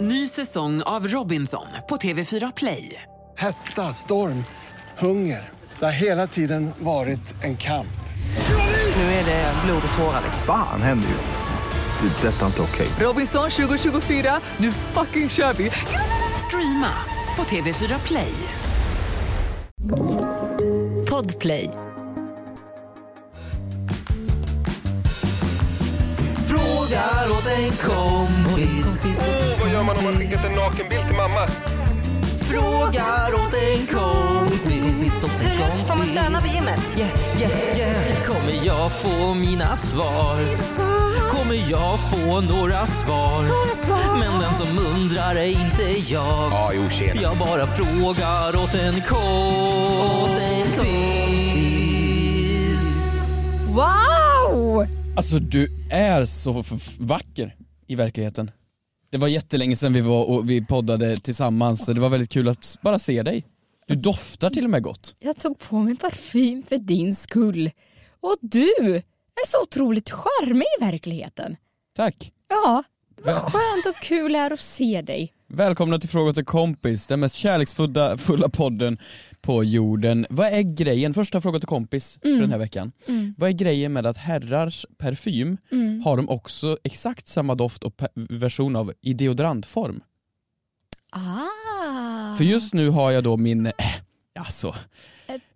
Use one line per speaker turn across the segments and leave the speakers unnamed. Ny säsong av Robinson på TV4 Play.
Hetta, storm, hunger. Det har hela tiden varit en kamp.
Nu är det blod och tårar.
Fan händer just nu. Det. är Detta är inte okej.
Robinson 2024, nu fucking kör vi! Streama på TV4 Play.
Podplay.
Frågar åt en kompis.
Vad gör man om man skickat en nakenbild till mamma?
Frågar åt en kompis.
Får man stöna på gymmet?
Yeah, yeah, yeah. Kommer jag få mina svar? Kommer jag få några svar? Men den som undrar är inte jag.
Ja, jo, tjena.
Jag bara frågar åt en kompis.
Wow!
Alltså du är så f- f- vacker i verkligheten. Det var jättelänge sedan vi var och vi poddade tillsammans så det var väldigt kul att s- bara se dig. Du doftar till och med gott.
Jag tog på mig parfym för din skull. Och du är så otroligt charmig i verkligheten.
Tack.
Ja, vad skönt och kul det är att se dig.
Välkomna till Fråga till kompis, den mest kärleksfulla fulla podden på jorden. Vad är grejen, första Fråga till kompis för den här veckan. Vad är grejen med att herrars parfym har de också exakt samma doft och pe- version av i deodorantform?
Ah.
För just nu har jag då min, äh, alltså,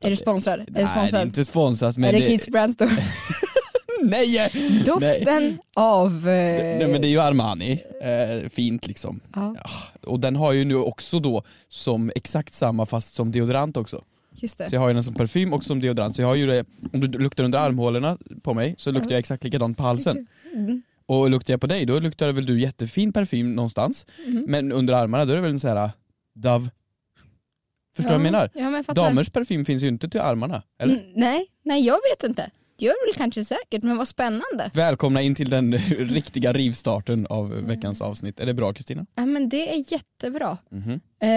Är du sponsrad? Är du
nej det är
sponsrad?
inte sponsrat men Mm,
är det Kids Brand Store?
Nej! Nej.
Doften av... Eh...
Nej men det är ju Armani, eh, fint liksom.
Ja.
Ja. Och den har ju nu också då som exakt samma fast som deodorant också.
Just det.
Så jag har ju den som parfym och som deodorant. Så jag har ju det, om du luktar under armhålorna på mig så luktar jag exakt likadant på halsen.
Mm.
Och luktar jag på dig då luktar väl du jättefin parfym någonstans.
Mm.
Men under armarna då är det väl en så här Dove. Förstår du vad jag menar?
Ja, men jag fattar.
Damers parfym finns ju inte till armarna, eller?
Mm, nej, nej, jag vet inte. Det gör det väl kanske säkert, men vad spännande.
Välkomna in till den riktiga rivstarten av veckans avsnitt. Är det bra Kristina?
Ja, men det är jättebra.
Mhm.
Eh,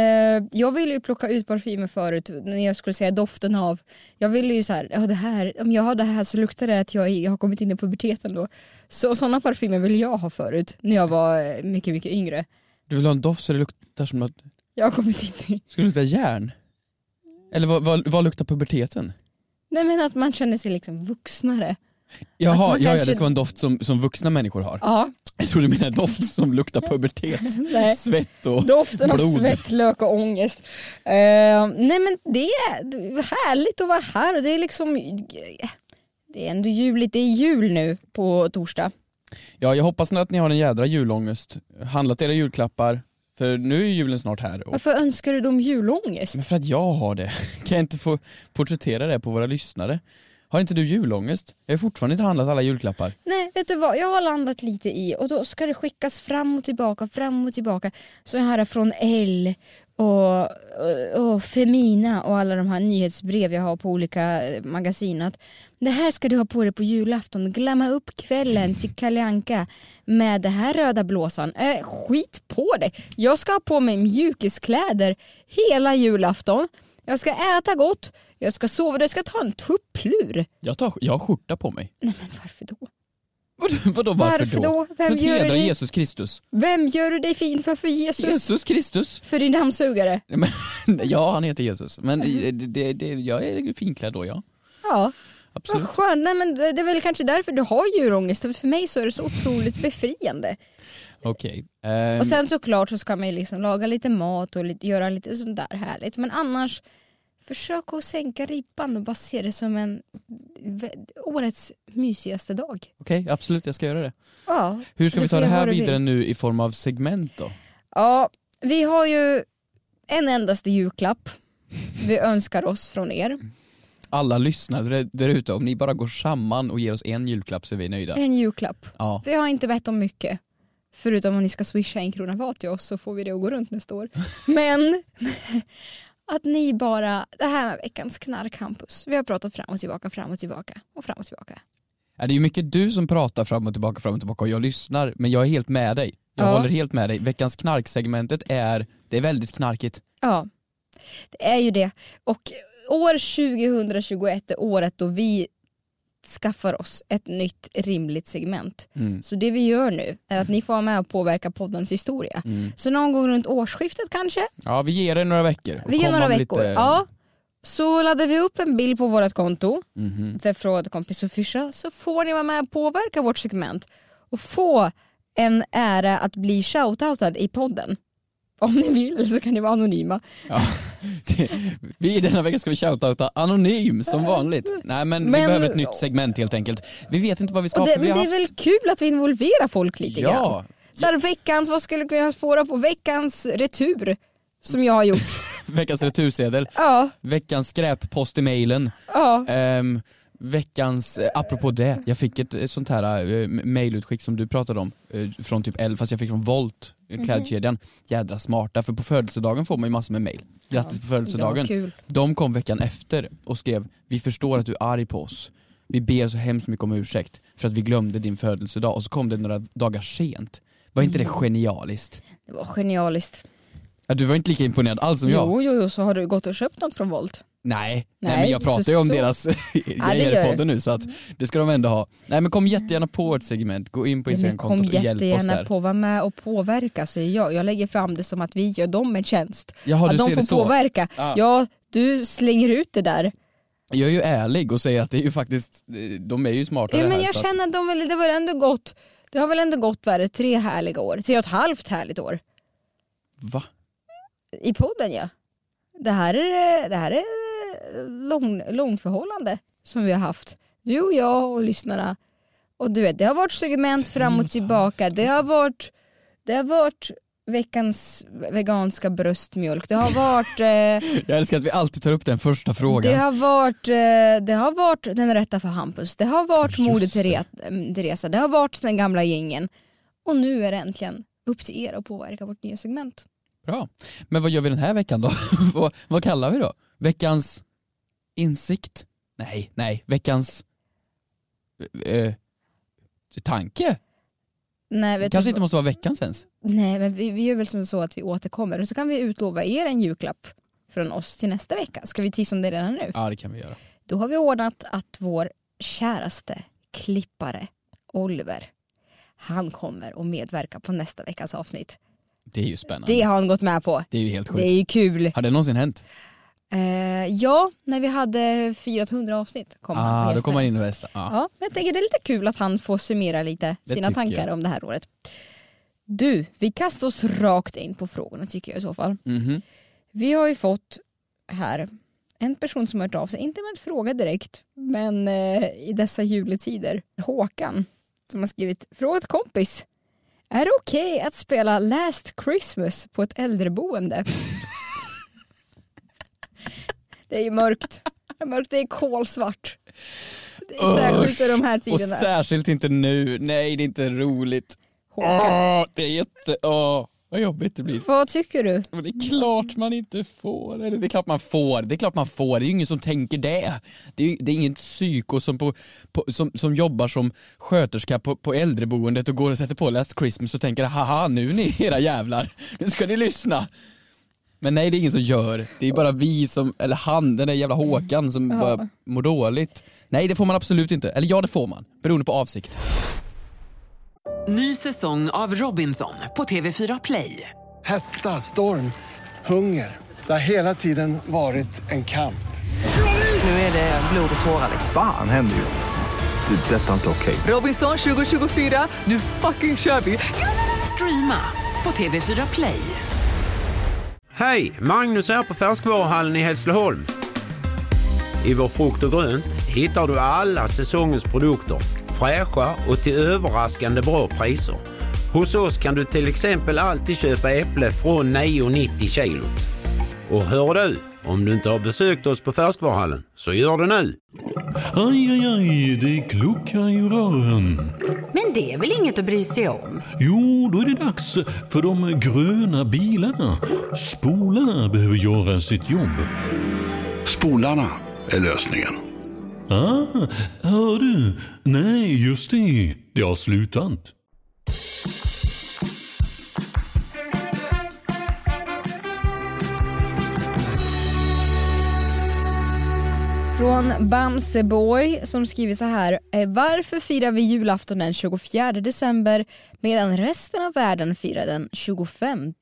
jag ville ju plocka ut parfymer förut när jag skulle säga doften av. Jag ville ju så här, ja, det här, om jag har det här så luktar det att jag, jag har kommit in i puberteten då. Så sådana parfymer ville jag ha förut när jag var eh, mycket, mycket yngre.
Du vill ha en doft så det luktar som att...
Jag har kommit in i...
Ska det lukta järn? Eller vad, vad, vad luktar puberteten?
Nej men att man känner sig liksom vuxnare. Att
Jaha,
man
ja, ja,
kanske-
det ska vara en doft som, som vuxna människor har.
Ja,
Jag tror du menar doft som luktar pubertet.
nej.
Svett och...
Doften av
Blod.
svett, lök och ångest. Eh, nej men det är härligt att vara här och det är liksom det är ändå juligt, det är jul nu på torsdag.
Ja, jag hoppas att ni har en jädra julångest. Handlat era julklappar. För nu är julen snart här. Och...
Varför önskar du dem julångest?
Men för att jag har det. Kan jag inte få porträttera det på våra lyssnare? Har inte du julångest? Jag har fortfarande inte handlat alla julklappar.
Nej, vet du vad? Jag har landat lite i och då ska det skickas fram och tillbaka, fram och tillbaka. Så här från L och, och, och Femina och alla de här nyhetsbrev jag har på olika eh, magasin. Att det här ska du ha på dig på julafton. Glamma upp kvällen till Kalle Anka med det här röda blåsan. Eh, skit på dig. Jag ska ha på mig mjukiskläder hela julafton. Jag ska äta gott, jag ska sova, jag ska ta en tupplur.
Jag, tar, jag har skjorta på mig.
Nej men varför då?
Vadå, vadå varför,
Varför då? Vem
för att
gör
hedra
det?
Jesus Kristus.
Vem gör du dig fin för för Jesus?
Jesus Kristus!
För din dammsugare?
Nej, Men, ja, han heter Jesus. Men eh, det, det, det, jag är finklädd då, ja.
Ja, vad
Absolut.
skönt. Nej, men det är väl kanske därför du har djurångest. För mig så är det så otroligt befriande.
Okej. Ehm,
Och sen såklart så ska man ju liksom laga lite mat och lite, göra lite sånt där härligt. Men annars, försök att sänka ribban och bara se det som en vä- årets mysigaste dag.
Okej, absolut, jag ska göra det.
Ja,
Hur ska
Du
vi ta
får
det
göra
här
vad du
vidare
vill.
nu i form av segment då?
ja vi har ju en endaste julklapp vi önskar oss från er.
Alla lyssnare där ute, om ni bara går samman och ger oss en julklapp så är vi nöjda.
En julklapp.
Ja.
Vi har inte bett om mycket. Förutom om ni ska swisha en krona var till oss så får vi det att gå runt nästa år. Men att ni bara, det här med veckans knarkcampus. Vi har pratat fram och tillbaka, fram och tillbaka och fram och tillbaka.
Ja, Det är ju mycket du som pratar fram och tillbaka, fram och tillbaka och jag lyssnar, men jag är helt med dig. Jag
Ja.
håller helt med dig. Veckans knarksegmentet är, det är väldigt knarkigt.
Ja, det är ju det. Och år 2021 är året då vi skaffar oss ett nytt rimligt segment. Så det vi gör nu är att ni får vara med och påverka poddens historia. Så någon gång runt årsskiftet kanske,
Ja, vi ger er några veckor.
vi ger
Komma
några
med
veckor.
Lite...
Ja. Så laddar vi upp en bild på vårt konto,
Mhm.
där frågar kompis och fyrsa, så får ni vara med och påverka vårt segment och få en ära att bli shoutoutad i podden. Om ni vill, eller så kan ni vara anonyma.
Vi, denna vecka ska vi shoutouta anonym som vanligt. Nej men, vi
Men-
behöver ett nytt segment helt enkelt. Vi vet inte vad vi ska
Och
ha
det,
för vi
men
har
det är
haft...
väl kul att vi involverar folk lite grann?
Ja,
Så här, veckans, vad skulle kunna spåra på veckans retur som jag har gjort?
veckans retursedel,
ja,
veckans skräppost i mejlen,
ja.
ehm, veckans, eh, apropå det, jag fick ett eh, sånt här eh, mejlutskick som du pratade om eh, från typ L, fast jag fick från Volt,
Mhm.
eh, klädkedjan. Jädra smarta, för på födelsedagen får man ju massor med mejl. Grattis på födelsedagen.
Ja, kul.
De kom veckan efter och skrev “Vi förstår att du är arg på oss. Vi ber så hemskt mycket om ursäkt för att vi glömde din födelsedag” och så kom det några dagar sent. Var inte det
Mm.
genialiskt?
Det var genialiskt.
Ja, du var inte lika imponerad alls som jag.
Jo, jo, jo, så har du gått och köpt något från Volt.
Nej, nej,
Nej,
men jag
så-
pratar ju om
så-
deras grejer
gör
i
du.
podden nu så att det ska de ändå ha. Nej men kom jättegärna på ett segment, gå in på
Ja, men kom
Instagram-kontot och hjälp oss
jättegärna
där.
på, var med och påverka säger jag. Jag lägger fram det som att vi gör dem en tjänst.
Jaha,
att
du
de
ser
får
det så.
påverka.
Ah.
Ja, du slänger ut det där.
Jag är ju ärlig och säger att det är ju faktiskt, eh, de är ju smarta i
Ja,
det
men
här.
jag
så att-
känner att de väl, det var ändå gott. Det har väl ändå gått vad är det, tre härliga år, tre och ett halvt härligt år.
Va?
I podden ja. Det här är, det här är eh, lång, långförhållande som vi har haft. Du och jag och lyssnarna. Och du vet, det har varit segment fram och tillbaka. Det har varit, det har varit veckans veganska bröstmjölk. Det har varit, eh,
Jag älskar att vi alltid tar upp den första
det
frågan.
har varit, eh, det har varit den rätta för Hampus. Det har varit
Just
Moder
det.
Tere- Teresa. Det har varit den gamla gängen. Och nu är det äntligen upp till er att påverka vårt nya segment.
Bra. Men vad gör vi den här veckan då? vad, vad kallar vi då? Veckans insikt? Nej, nej, veckans eh, tanke?
Nej, vet du
Kanske
vad-
inte måste vara veckans ens.
Nej men vi, vi gör väl som så att vi återkommer och så kan vi utlova er en julklapp från oss till nästa vecka. Ska vi tisa om det redan nu?
Ja, det kan vi göra.
Då har vi ordnat att vår käraste klippare Oliver han kommer och medverka på nästa veckas avsnitt.
Det är ju spännande.
Det har han gått med på.
Det är ju helt sjukt.
Det är ju kul.
Har det någonsin hänt?
Eh, ja, när vi hade 400 avsnitt kom han
Ah,
och
då
gästade.
kommer man in och västa. Ah.
Ja, men jag tänker det är lite kul att han får summera lite
Det
sina
tycker
tankar
jag.
om det här året. Du, vi kastar oss rakt in på frågorna tycker jag i så fall.
Mhm.
Vi har ju fått här en person som har hört av sig, inte med en fråga direkt, men eh, i dessa juletider. Håkan som har skrivit “Fråga ett kompis. Är det okej att spela Last Christmas på ett äldreboende?” Det är ju mörkt. Det är mörkt, det är kolsvart. Det är särskilt i de här
Och
tiderna.
särskilt inte nu. Nej, det är inte roligt.
Håkan,
Ah, det är jätte... Ah, vad jobbigt det blir.
vad tycker du?
Men det är klart man inte får. Eller det är klart man får. Det är klart man får. Det är ju ingen som tänker det. Det är, ju- det är ingen psyko som, på, på, som, som jobbar som sköterska på, på äldreboendet och går och sätter på Last Christmas och tänker haha nu ni era jävlar, nu ska ni lyssna. Men nej det är ingen som gör. Det är bara vi som, eller han, den där jävla Håkan som bara mår dåligt. Nej det får man absolut inte. Eller ja det får man. Beroende på avsikt.
Ny säsong av Robinson på TV4 Play.
Hetta, storm, hunger. Det har hela tiden varit en kamp.
Nu är det blod och tårar.
Fan händer just det. Det är detta inte okej.
Robinson 2024, nu fucking kör vi! Streama på TV4 Play.
Hej! Magnus här på Färskvaruhallen i Hässleholm. I vår frukt och grönt hittar du alla säsongens produkter. Fräscha och till överraskande bra priser. Hos oss kan du till exempel alltid köpa äpple från 9,90 kilo. Och hör du, om du inte har besökt oss på Färskvaruhallen, så gör det nu!
Aj, aj, aj, det kluckar i rören.
Men det är väl inget att bry sig om?
Jo, då är det dags för de gröna bilarna. Spolarna behöver göra sitt jobb.
Spolarna är lösningen.
Ah, hör du? Nej, just det. Det har slutat.
Från Bamseboy som skriver så här. eh, Varför firar vi julafton den 24 december medan resten av världen firar den 25?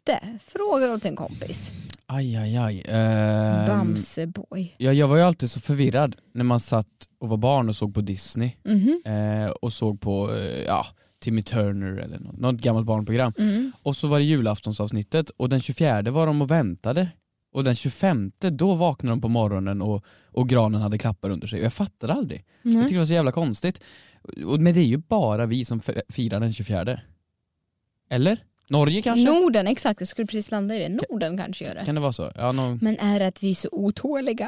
Frågar åt en kompis.
Aj, aj, aj. Ehm,
Bamseboy.
Ja, jag var ju alltid så förvirrad när man satt och var barn och såg på Disney
Mhm.
eh, och såg på eh, ja, Timmy Turner eller något, något gammalt barnprogram.
Mm.
Och så var det julaftonsavsnittet och den 24 var de och väntade och den 25 då vaknade de på morgonen och, och granen hade klappar under sig. Och Jag fattade aldrig.
Nej.
Jag tyckte det var så jävla konstigt. Och, men det är ju bara vi som f- firar den 24. Eller? Norge kanske?
Norden, exakt. Jag skulle precis landa i det. Norden kanske gör det.
Kan det vara så? Ja, någon
Men är det att vi är så otåliga?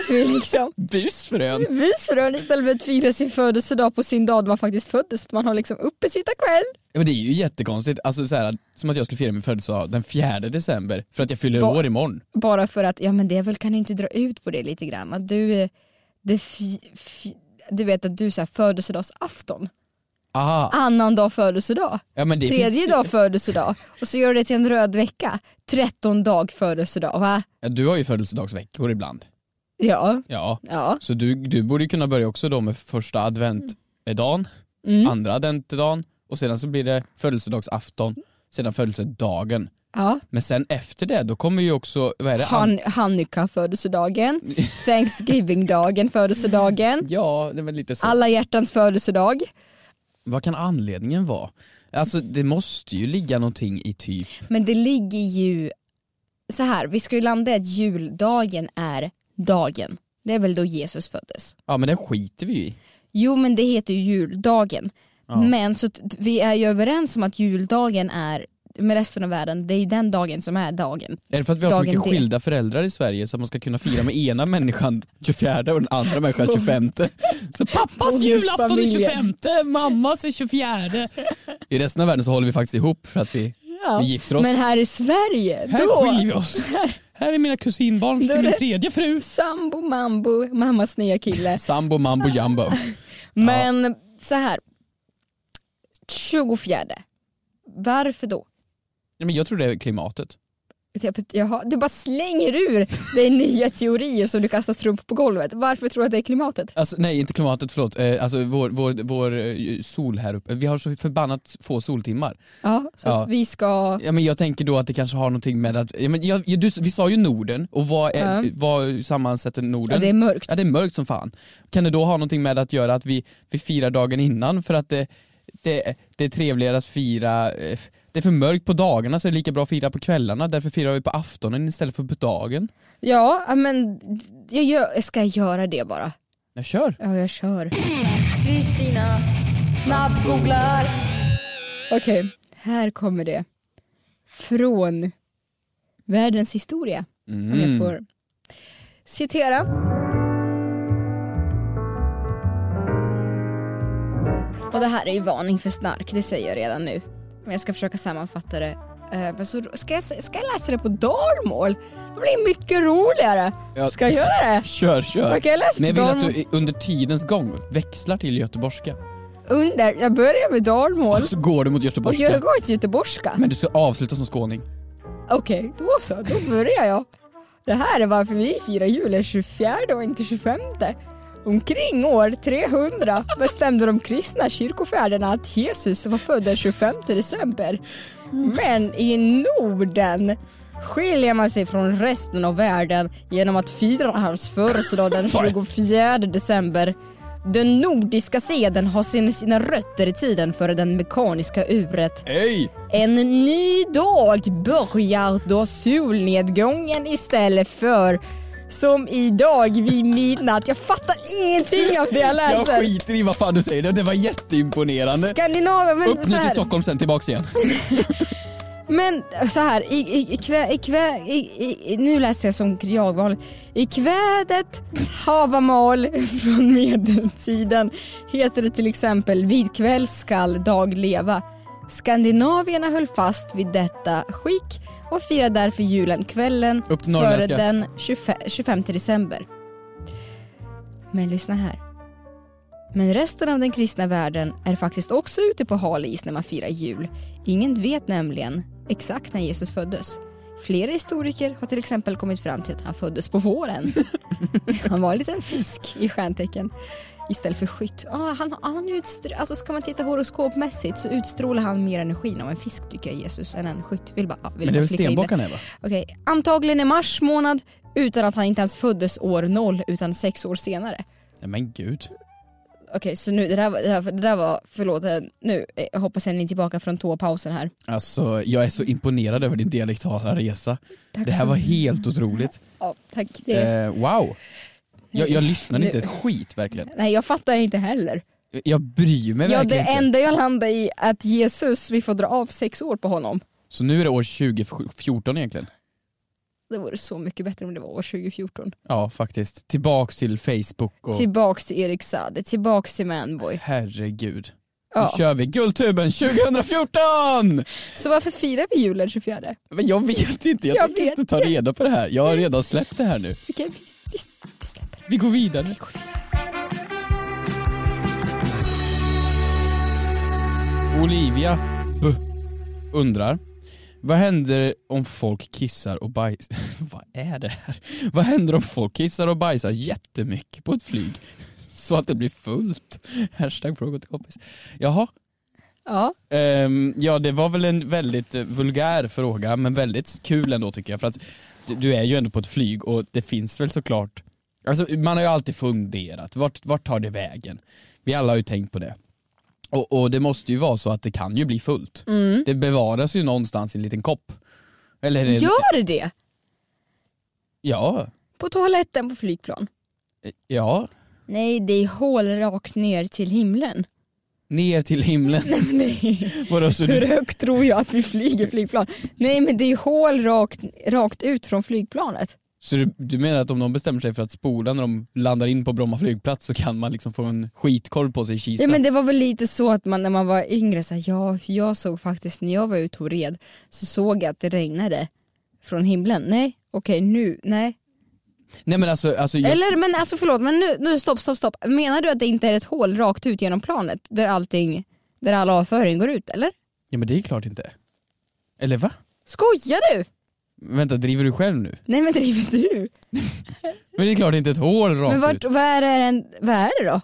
Att vi liksom
busfrön.
busfrön istället för att fira sin födelsedag på sin dag då man faktiskt föddes. Att man har liksom uppe sitta kväll.
Ja, men det är ju jättekonstigt. Alltså, så här, som att jag skulle fira min födelsedag den 4 december för att jag fyller
Va-
år imorgon.
Bara för att, ja men det är väl kan jag inte dra ut på det lite grann. Att du, eh, det fi, fi, du vet att du så här födelsedagsafton,
Aha.
annan dag födelsedag,
Ja, men det
tredje
finns ju-
dag födelsedag och så gör du det till en röd vecka, tretton dag födelsedag va?
Ja, du har ju födelsedagsveckor ibland.
Ja,
Ja.
ja.
Så du, du borde ju kunna börja också då med första adventdagen,
Mm.
andra adventdagen och sedan så blir det födelsedagsafton, sedan födelsedagen.
ja.
Men sen efter det då kommer ju också, vad är det?
Han, Hanukka födelsedagen, Thanksgiving-dagen födelsedagen,
Ja, det är väl lite så.
alla hjärtans födelsedag.
Vad kan anledningen vara? Alltså det måste ju ligga någonting i typ,
Men det ligger ju så här, vi ska ju landa i att juldagen är dagen. Det är väl då Jesus föddes.
ja men den skiter vi ju i.
Jo men det heter ju juldagen. Men så t- vi är ju överens om att juldagen är med resten av världen, det är ju den dagen som är dagen.
Är det för att vi har så
Dagen
mycket
D.
skilda föräldrar i Sverige så att man ska kunna fira med ena människan 24 och den andra människan 25? Så pappas julafton är 25, mammas är 24. I resten av världen så håller vi faktiskt ihop för att vi, vi gifter oss.
Men här i Sverige,
Här
då,
skiljer vi oss. Här är mina kusinbarn
Då är
till min
det-
tredje fru.
sambo, mambo, mammas nya kille.
Sambo, mambo, jumbo.
Men så här, 24, varför då?
Nej, men jag tror det är klimatet.
Jag- Jaha, du bara slänger ur dig nya teorier som du kastar strumpor på golvet. Varför tror du att det är klimatet?
Alltså, nej, inte klimatet, förlåt. Eh, alltså, vår, vår, vår eh, sol här uppe. Vi har så förbannat få soltimmar.
Ja, så
Ja.
vi ska...
Ja, men jag tänker då att det kanske har någonting med att, ja, men jag, jag- du, vi sa ju Norden och vad, är,
Ja.
vad sammansätter Norden?
Ja, det är mörkt.
Ja, det är mörkt som fan. Kan det då ha någonting med att göra att vi, vi firar dagen innan för att det, det, det är trevligare att fira, eh, det är för mörkt på dagarna så det är lika bra att fira på kvällarna, därför firar vi på aftonen istället för på dagen.
Ja, ja, men jag gör... ska jag göra det bara.
Jag kör.
Ja, jag kör. Kristina snabbgooglar. Okej, här kommer det. Från världens historia. Om jag får citera. Och det här är ju varning för snark, det säger jag redan nu. Men jag ska försöka sammanfatta det. Eh, Men så ska, jag, ska jag läsa det på dalmål? Det blir mycket roligare.
Ja.
Ska jag göra det?
Kör, kör.
Okej, läs på
Men jag vill att
dem.
du i- under tidens gång växlar till göteborgska.
Under, jag börjar med dalmål.
Och så går du mot
Och
göteborgska.
jag går till göteborgska.
Men du ska avsluta som skåning.
Okej, då så, då börjar jag. Det här är varför vi firar julen 24 och inte 25. Omkring år 300 bestämde de kristna kyrkofäderna att Jesus var född den 25 december. Men i Norden skiljer man sig från resten av världen genom att fira hans födelsedag den 24 december. Den nordiska seden har sina- sina rötter i tiden före den mekaniska uret.
Hej!
En ny dag börjar då solnedgången istället för som idag vid midnatt. Jag fattar ingenting av det jag
Jag
läser.
skiter i vad fan du säger, det, det var jätteimponerande.
Skandinavien, men
Upp
så
nu till
här.
Stockholm sen tillbaks igen.
Men så här, i, i, i, kvä, i, kvä, i, i, i nu läser jag som jag vanligt. I kvädet havamal från medeltiden heter det till exempel vid kväll skall dag leva. Skandinavierna höll fast vid detta skick och firar därför julen kvällen
Upp till
före
norrländska.
den 25, 25 december. Men lyssna här. Men resten av den kristna världen är faktiskt också ute på hal is när man firar jul. Ingen vet nämligen exakt när Jesus föddes. Flera historiker har till exempel kommit fram till att han föddes på våren. han var en liten fisk i stjärntecken istället för skytt. Ja, han, han utstr- alltså ska man titta horoskopmässigt så utstrålar han mer energin av en fisk tycker jag, Jesus, än en skytt. Vill bara, ja, vill
Men det är
bara
väl
flika in
stenbock han är va?
Okej, antagligen i mars månad utan att han inte ens föddes år noll utan sex år senare.
Nej men gud.
Okej, så nu, det där, var- det, där, det där var, förlåt, eh, nu eh, jag hoppas jag ni är tillbaka från tåpausen här.
Alltså jag är så imponerad över din dialektala resa.
Tack
det här
så-
var helt otroligt.
Ja, tack. Det,
Eh, wow. Jag, jag lyssnar inte
Nu-
ett skit verkligen.
Nej, jag fattar inte heller.
Jag bryr mig
ja, det
verkligen inte.
enda jag landade i är att Jesus, vi får dra av sex år på honom.
Så nu är det år 2014 egentligen.
Det vore så mycket bättre om det var år 2014.
Ja faktiskt. Tillbaks till Facebook och
Tillbaks till Erik Saade, tillbaks till Manboy.
herregud.
Ja.
Nu kör vi Guldtuben 2014!
Så varför firar vi jul den 24?
Men jag vet inte, jag,
Jag
tänker
vet
inte ta reda på det här. Jag har redan släppt det här nu.
Okej, vi, vi, vi släpper det.
Vi går vidare. Olivia B undrar, vad händer om folk kissar och bajsar? vad är det här? Vad händer om folk kissar och bajsar jättemycket på ett flyg? Så att det blir fullt? Hashtag fråga till kompis. Jaha,
Ja,
Ehm, ja, det var väl en väldigt eh, vulgär fråga, men väldigt kul ändå tycker jag. För att du, du är ju ändå på ett flyg och det finns väl såklart, alltså man har ju alltid funderat, vart, vart tar det vägen? Vi alla har ju tänkt på det. Och, och det måste ju vara så att det kan ju bli fullt.
Mm.
Det bevaras ju någonstans i en liten kopp. Eller, en-
gör det!
ja,
På toaletten på flygplan.
ja,
Nej, det är hål rakt ner till himlen.
ner till himlen.
Nej.
Vadå, så
Hur
du,
högt tror jag att vi flyger flygplan? Nej, men det är hål rakt, rakt ut från flygplanet.
så du, du menar att om de bestämmer sig för att spola när de landar in på Bromma flygplats så kan man liksom få en skitkorv på sig i Kista?
Ja, men det var väl lite så att man när man var yngre, så här, ja, för jag såg faktiskt när jag var ute och red så såg jag att det regnade från himlen. Nej, okej nu, nej.
Nej men alltså, alltså jag,
Eller men alltså förlåt, men nu, nu stopp, stopp, stopp. Menar du att det inte är ett hål rakt ut genom planet där allting, där all avföring går ut eller?
ja men det är klart inte. Eller va?
Skojar du?
Vänta, driver du själv nu?
Nej men driver du?
Men det är klart inte ett hål rakt
Men vart,
ut.
vad, är det, en- vad är det då?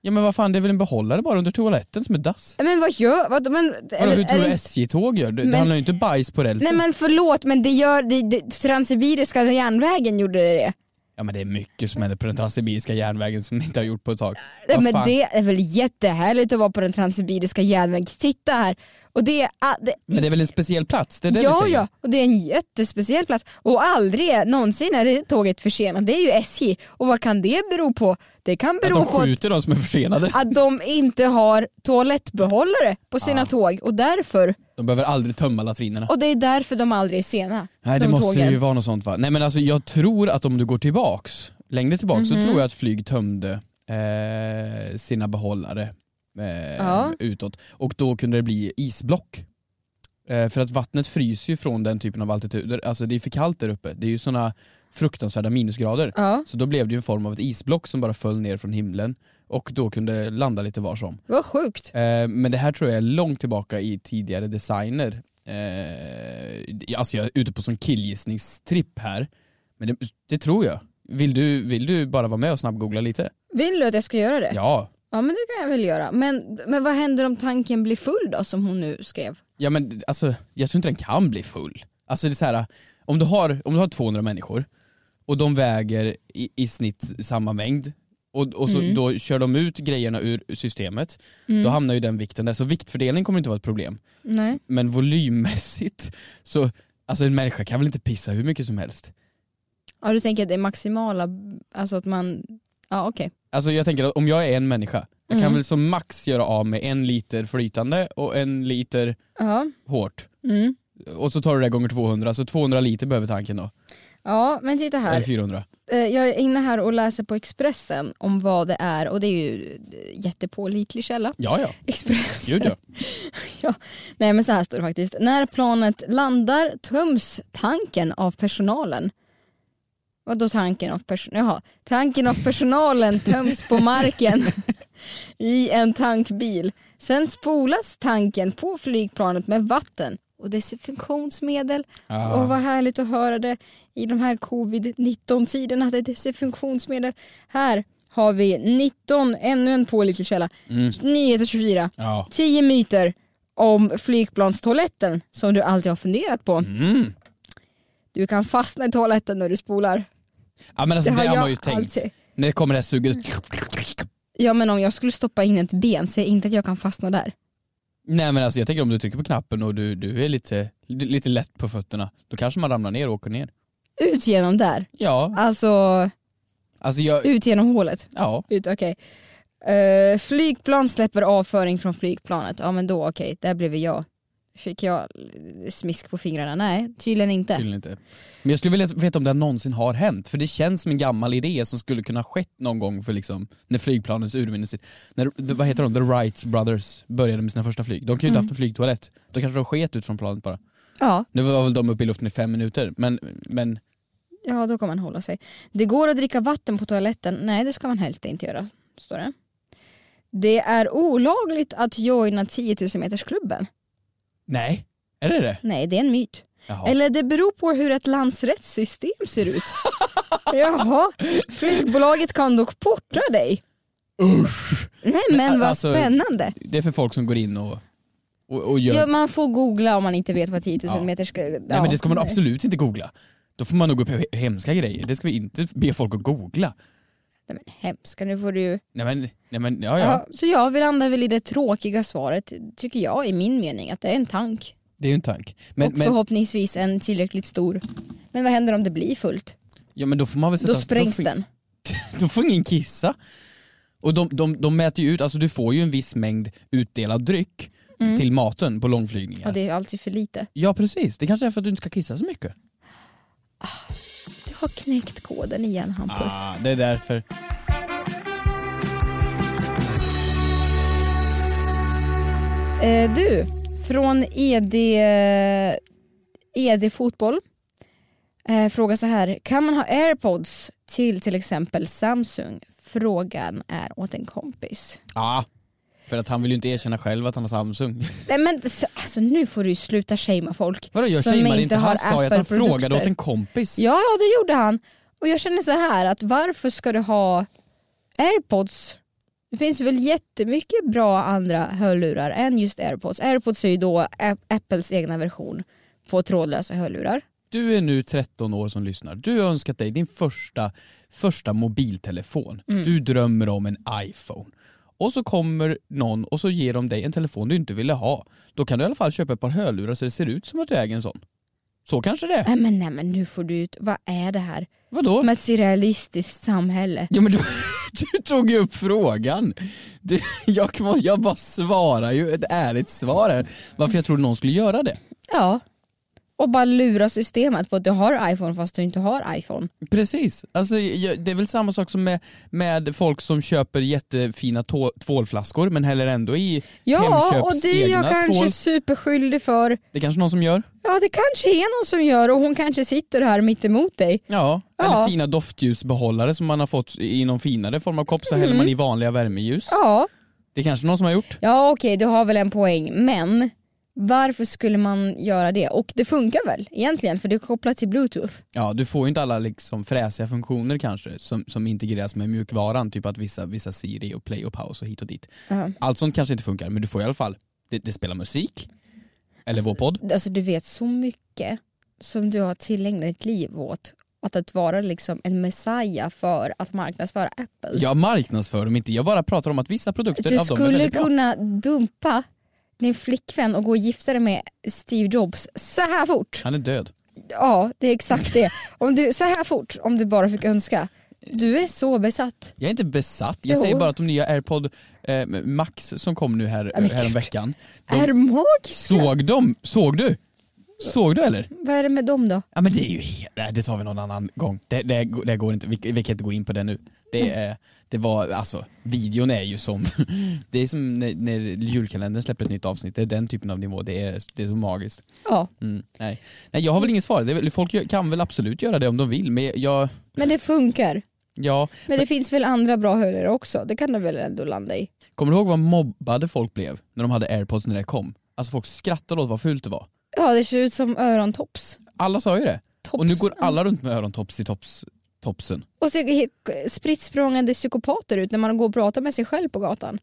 Ja men vad fan, det är väl en behållare bara under toaletten som är dass.
Men vad gör, vad, men,
Vadå,
eller-
hur tror
är
du
det-
SJ-tåg gör? Det, det
Men-
handlar ju inte bajs på rälsen.
Nej men förlåt men det gör, det, det, Transsibiriska järnvägen gjorde det.
Ja men det är mycket som händer på den transsibiriska järnvägen som ni inte har gjort på ett tag.
Nej,
Vad
men
fan?
det är väl jättehärligt att vara på den transsibiriska järnvägen. Titta här. Och det är, ah, det,
men det är väl en speciell plats? Det är det vi
ja,
säger.
ja, och det är en jättespeciell plats. Och aldrig någonsin är det tåget försenat. Det är ju SJ. Och vad kan det bero på? Det kan
Att
bero
de
på att,
skjuter de som är försenade.
att de inte har toalettbehållare på sina tåg. Och, därför,
De behöver aldrig tömma latrinerna.
och det är därför de aldrig är sena.
Nej
de
det måste
tågen.
ju vara något sånt va? Nej men alltså jag tror att om du går tillbaks, längre tillbaks
Mhm.
så tror jag att flyg tömde eh, sina behållare eh,
Ja.
utåt och då kunde det bli isblock. Eh, för att vattnet fryser ju från den typen av altituder, alltså det är för kallt där uppe, det är ju sådana fruktansvärda minusgrader.
Ja.
Så då blev det ju en form av ett isblock som bara föll ner från himlen och då kunde landa lite var som.
Vad sjukt.
Eh, men det här tror jag är långt tillbaka i tidigare designer. Eh, alltså jag är ute på sån killgissningstripp här. Men det, det tror jag. Vill du, vill du bara vara med och snabbgoogla lite?
Vill du att jag ska göra det?
Ja.
Ja men det kan jag väl göra. Men, men vad händer om tanken blir full då som hon nu skrev?
Ja men alltså, jag tror inte den kan bli full. Alltså det är så här, om du har, om du har 200 människor och de väger i, i snitt samma mängd och, och så, då kör de ut grejerna ur systemet, då hamnar ju den vikten där. Så viktfördelning kommer inte vara ett problem.
Nej.
men volymmässigt så, alltså en människa kan väl inte pissa hur mycket som helst?
Ja du tänker att det är maximala, alltså att man, ja okej.
Alltså jag tänker att om jag är en människa, jag kan
Mm.
väl som max göra av med en liter flytande och en liter
Ja.
hårt.
Mm.
Och så tar du det gånger 200, så 200 liter behöver tanken då.
ja men titta här,
Eller 400.
Eh, jag är inne här och läser på Expressen om vad det är och det är ju eh, jättepålitlig källa.
Ja, ja.
Expressen.
Gud ja.
Ja. Nej men så här står det faktiskt. När planet landar töms tanken av personalen. Vadå tanken av personalen? Jaha, tanken av personalen töms på marken i en tankbil. Sen spolas tanken på flygplanet med vatten och desinfektionsmedel.
Ja.
Och vad härligt att höra det i de här covid-19-tiderna. Det är desinfektionsmedel. Här har vi 19, ännu en pålitlig källa.
Mm.
Nyheter 24.
Ja.
10 myter om flygplanstoaletten som du alltid har funderat på.
Mm.
Du kan fastna i toaletten när du spolar.
Ja men alltså
Det
det,
har
har man
jag
ju tänkt.
alltid.
När det kommer det här suget.
Ja men om jag skulle stoppa in ett ben, säg inte att jag kan fastna där.
Nej men alltså jag tänker om du trycker på knappen och du, du är lite, lite lätt på fötterna, då kanske man ramlar ner och åker ner.
Ut genom där.
Ja,
Alltså
alltså jag,
ut genom hålet.
ja.
Ut, okej. Eh, flygplan släpper avföring från flygplanet. Ja men då okej, där blev jag. Fick jag smisk på fingrarna? Nej, tydligen inte.
Tydligen inte. Men jag skulle vilja veta om det här någonsin har hänt, för det känns som en gammal idé som skulle kunna ha skett någon gång för liksom, när flygplanens urminnes tid. När, the- vad heter de, The Wright Brothers började med sina första flyg. De kunde ju inte
Mm.
haft en flygtoalett. Då kanske de sket ut från planet bara.
Ja,
Nu var väl de uppe i luften i fem minuter, men, men
ja, då kan man hålla sig. Det går att dricka vatten på toaletten. Nej, det ska man helst inte göra, står det. Det är olagligt att joina 10 000 metersklubben.
nej. Är det det?
Nej, det är en myt.
Jaha.
Eller det beror på hur ett lands rättssystem ser ut. Jaha, flygbolaget kan dock porta dig.
Usch!
Nej men vad
alltså-
spännande.
Det är för folk som går in och, och, och gör...
Ja, man får googla om man inte vet vad 10 000
Ja.
meter ska... Ja.
nej men det ska man absolut inte googla. Då får man nog upp he- hemska grejer. Det ska vi inte be folk att googla.
Nej, men hemska, nu får du ju...
Nej men, nej, men ja, ja.
Ja. Så jag vill landa väl i det tråkiga svaret, tycker jag i min mening, att det är en tank.
Det är ju en tank. Men,
och
men,
förhoppningsvis en tillräckligt stor. Men vad händer om det blir fullt?
ja, men då får man väl sätta...
Då sprängs
får-
den.
då får ingen kissa. Och de, de, de mäter ju ut, alltså du får ju en viss mängd utdelad dryck
Mm.
till maten på långflygningar.
Och det är ju alltid för lite.
Ja precis, det kanske är för att du inte ska kissa så mycket.
Du har knäckt koden igen Hampus.
Ah, det är därför.
Eh, du, från E ED, ED Fotboll. Eh, fråga så här, kan man ha airpods till till exempel Samsung? Frågan är åt en kompis.
Ja, ah. för att han vill ju inte erkänna själv att han har Samsung.
Nej men s- alltså nu får du ju sluta shamea folk.
Vadå jag
som
shamear inte, han sa ju att han
Apple-produkter.
frågade åt en kompis.
Ja, ja det gjorde han. Och jag känner så här att varför ska du ha airpods? Det finns väl jättemycket bra andra hörlurar än just airpods. Airpods är ju då Ap- Apples egna version på trådlösa hörlurar.
Du är nu 13 år som lyssnar, du har önskat dig din första, första mobiltelefon. Du drömmer om en iPhone. Och så kommer någon och så ger de dig en telefon du inte ville ha. Då kan du i alla fall köpa ett par hörlurar så det ser ut som att du äger en sån. Så kanske det är.
Nej men, nej, men nu får du ut, vad är det här?
Vadå?
Med ett surrealistiskt samhälle.
Ja, men du, du tog ju upp frågan. Du, jag, må- jag bara svarar ju ett ärligt svar här. Varför jag trodde någon skulle göra det.
Ja. Och bara lura systemet på att du har iPhone fast du inte har iPhone.
Precis, alltså, jag, det är väl samma sak som med, med folk som köper jättefina tå, tvålflaskor men häller ändå i
Ja och
Hemköps
det är jag
egna
kanske
tvål.
superskyldig för.
Det är kanske någon som gör?
Ja det kanske är någon som gör och hon kanske sitter här mitt emot dig.
Ja.
Ja.
Eller fina doftljusbehållare som man har fått i någon finare form av kopp så häller man i vanliga värmeljus.
Mm. Ja,
Det är kanske någon som har gjort.
ja okej du har väl en poäng men varför skulle man göra det? Och det funkar väl egentligen för det är kopplat till bluetooth.
Ja, du får ju inte alla liksom fräsiga funktioner kanske som, som integreras med mjukvaran, typ att vissa, vissa Siri och Play och Pause och hit och dit. Allt sånt kanske inte funkar men du får i alla fall, det, det spelar musik, eller vår podd.
Alltså du vet så mycket som du har tillägnat ditt liv åt att, att vara liksom en messiah för att marknadsföra Apple.
Jag marknadsför dem inte, jag bara pratar om att vissa produkter
du
av dem är
skulle
väldigt bra.
kunna dumpa din flickvän och gå och gifta dig med Steve Jobs så här fort.
Han är död.
Ja, det är exakt det. Om du, så här fort, om du bara fick önska. Du är så besatt.
Jag är inte besatt, jag
Jo.
säger bara att de nya airpod eh, max som kom nu här,
Ja, men
härom
gud.
veckan. De,
Är magisk.
såg de? Såg du? Såg du eller?
Vad är det med dem då?
Ja men det är ju helt, nej, det tar vi någon annan gång. Det, det, det går inte, vi, vi kan inte gå in på det nu. Det, är- det var, alltså videon är ju som, det är som när, när julkalendern släpper ett nytt avsnitt, det är den typen av nivå, det är, det är så magiskt.
Ja,
Mm, nej. nej jag har väl inget svar, det är, väl- folk gör- kan väl absolut göra det om de vill men jag,
men det funkar.
ja,
Men det finns väl andra bra hörlurar också? Det kan det väl ändå landa i?
kommer du ihåg vad mobbade folk blev när de hade airpods när det kom? Alltså folk skrattade åt vad fult det var.
Ja, Ja, det ser ut som örontops.
Alla sa ju det.
Tops.
Och nu går alla runt med örontops i tops, topsen.
Och ser he- spritt språngande psykopater ut när man går och pratar med sig själv på gatan.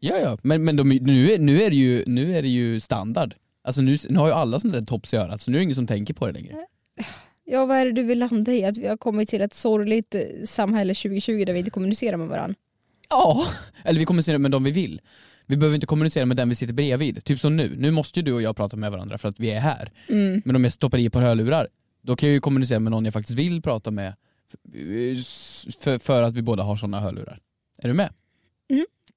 Ja, ja. Men, men de, nu, är, nu, är det ju, nu är det ju standard. Alltså nu, nu har ju alla sådana där tops i örat så nu är det ingen som tänker på det längre.
Ja, vad är det du vill landa i? Att vi har kommit till ett sorgligt eh, samhälle 2020 där vi inte kommunicerar med varandra?
Ja, eller vi kommunicerar med dem vi vill. Vi behöver inte kommunicera med den vi sitter bredvid. Typ som nu, nu måste ju du och jag prata med varandra för att vi är här.
Mm.
Men om jag stoppar i ett par hörlurar, då kan jag ju kommunicera med någon jag faktiskt vill prata med för, för, för att vi båda har sådana hörlurar. Är du med?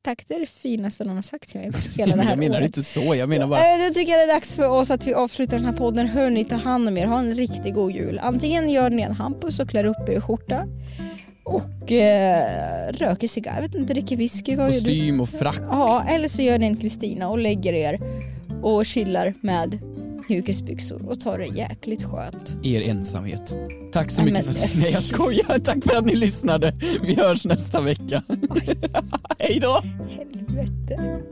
Tack, det är det finaste någon har sagt till mig hela det här
jag menar
året.
inte så, jag menar bara...
Eh, Då tycker jag det är dags för oss att vi avslutar den här podden. Hörni, ta hand om er. Ha en riktigt god jul. Antingen gör ni en hampus och klär upp er i skjorta och eh, röker cigarr, Jag vet inte, dricker whisky. Vad gör du?
Kostym och frack.
Ja, eller så gör ni en Kristina och lägger er och chillar med mjukisbyxor och tar det jäkligt skönt.
er ensamhet. Tack så
Nej,
mycket
men-
för att... Nej jag skojar, tack för att ni lyssnade. Vi hörs nästa vecka. Hej då!
Helvete.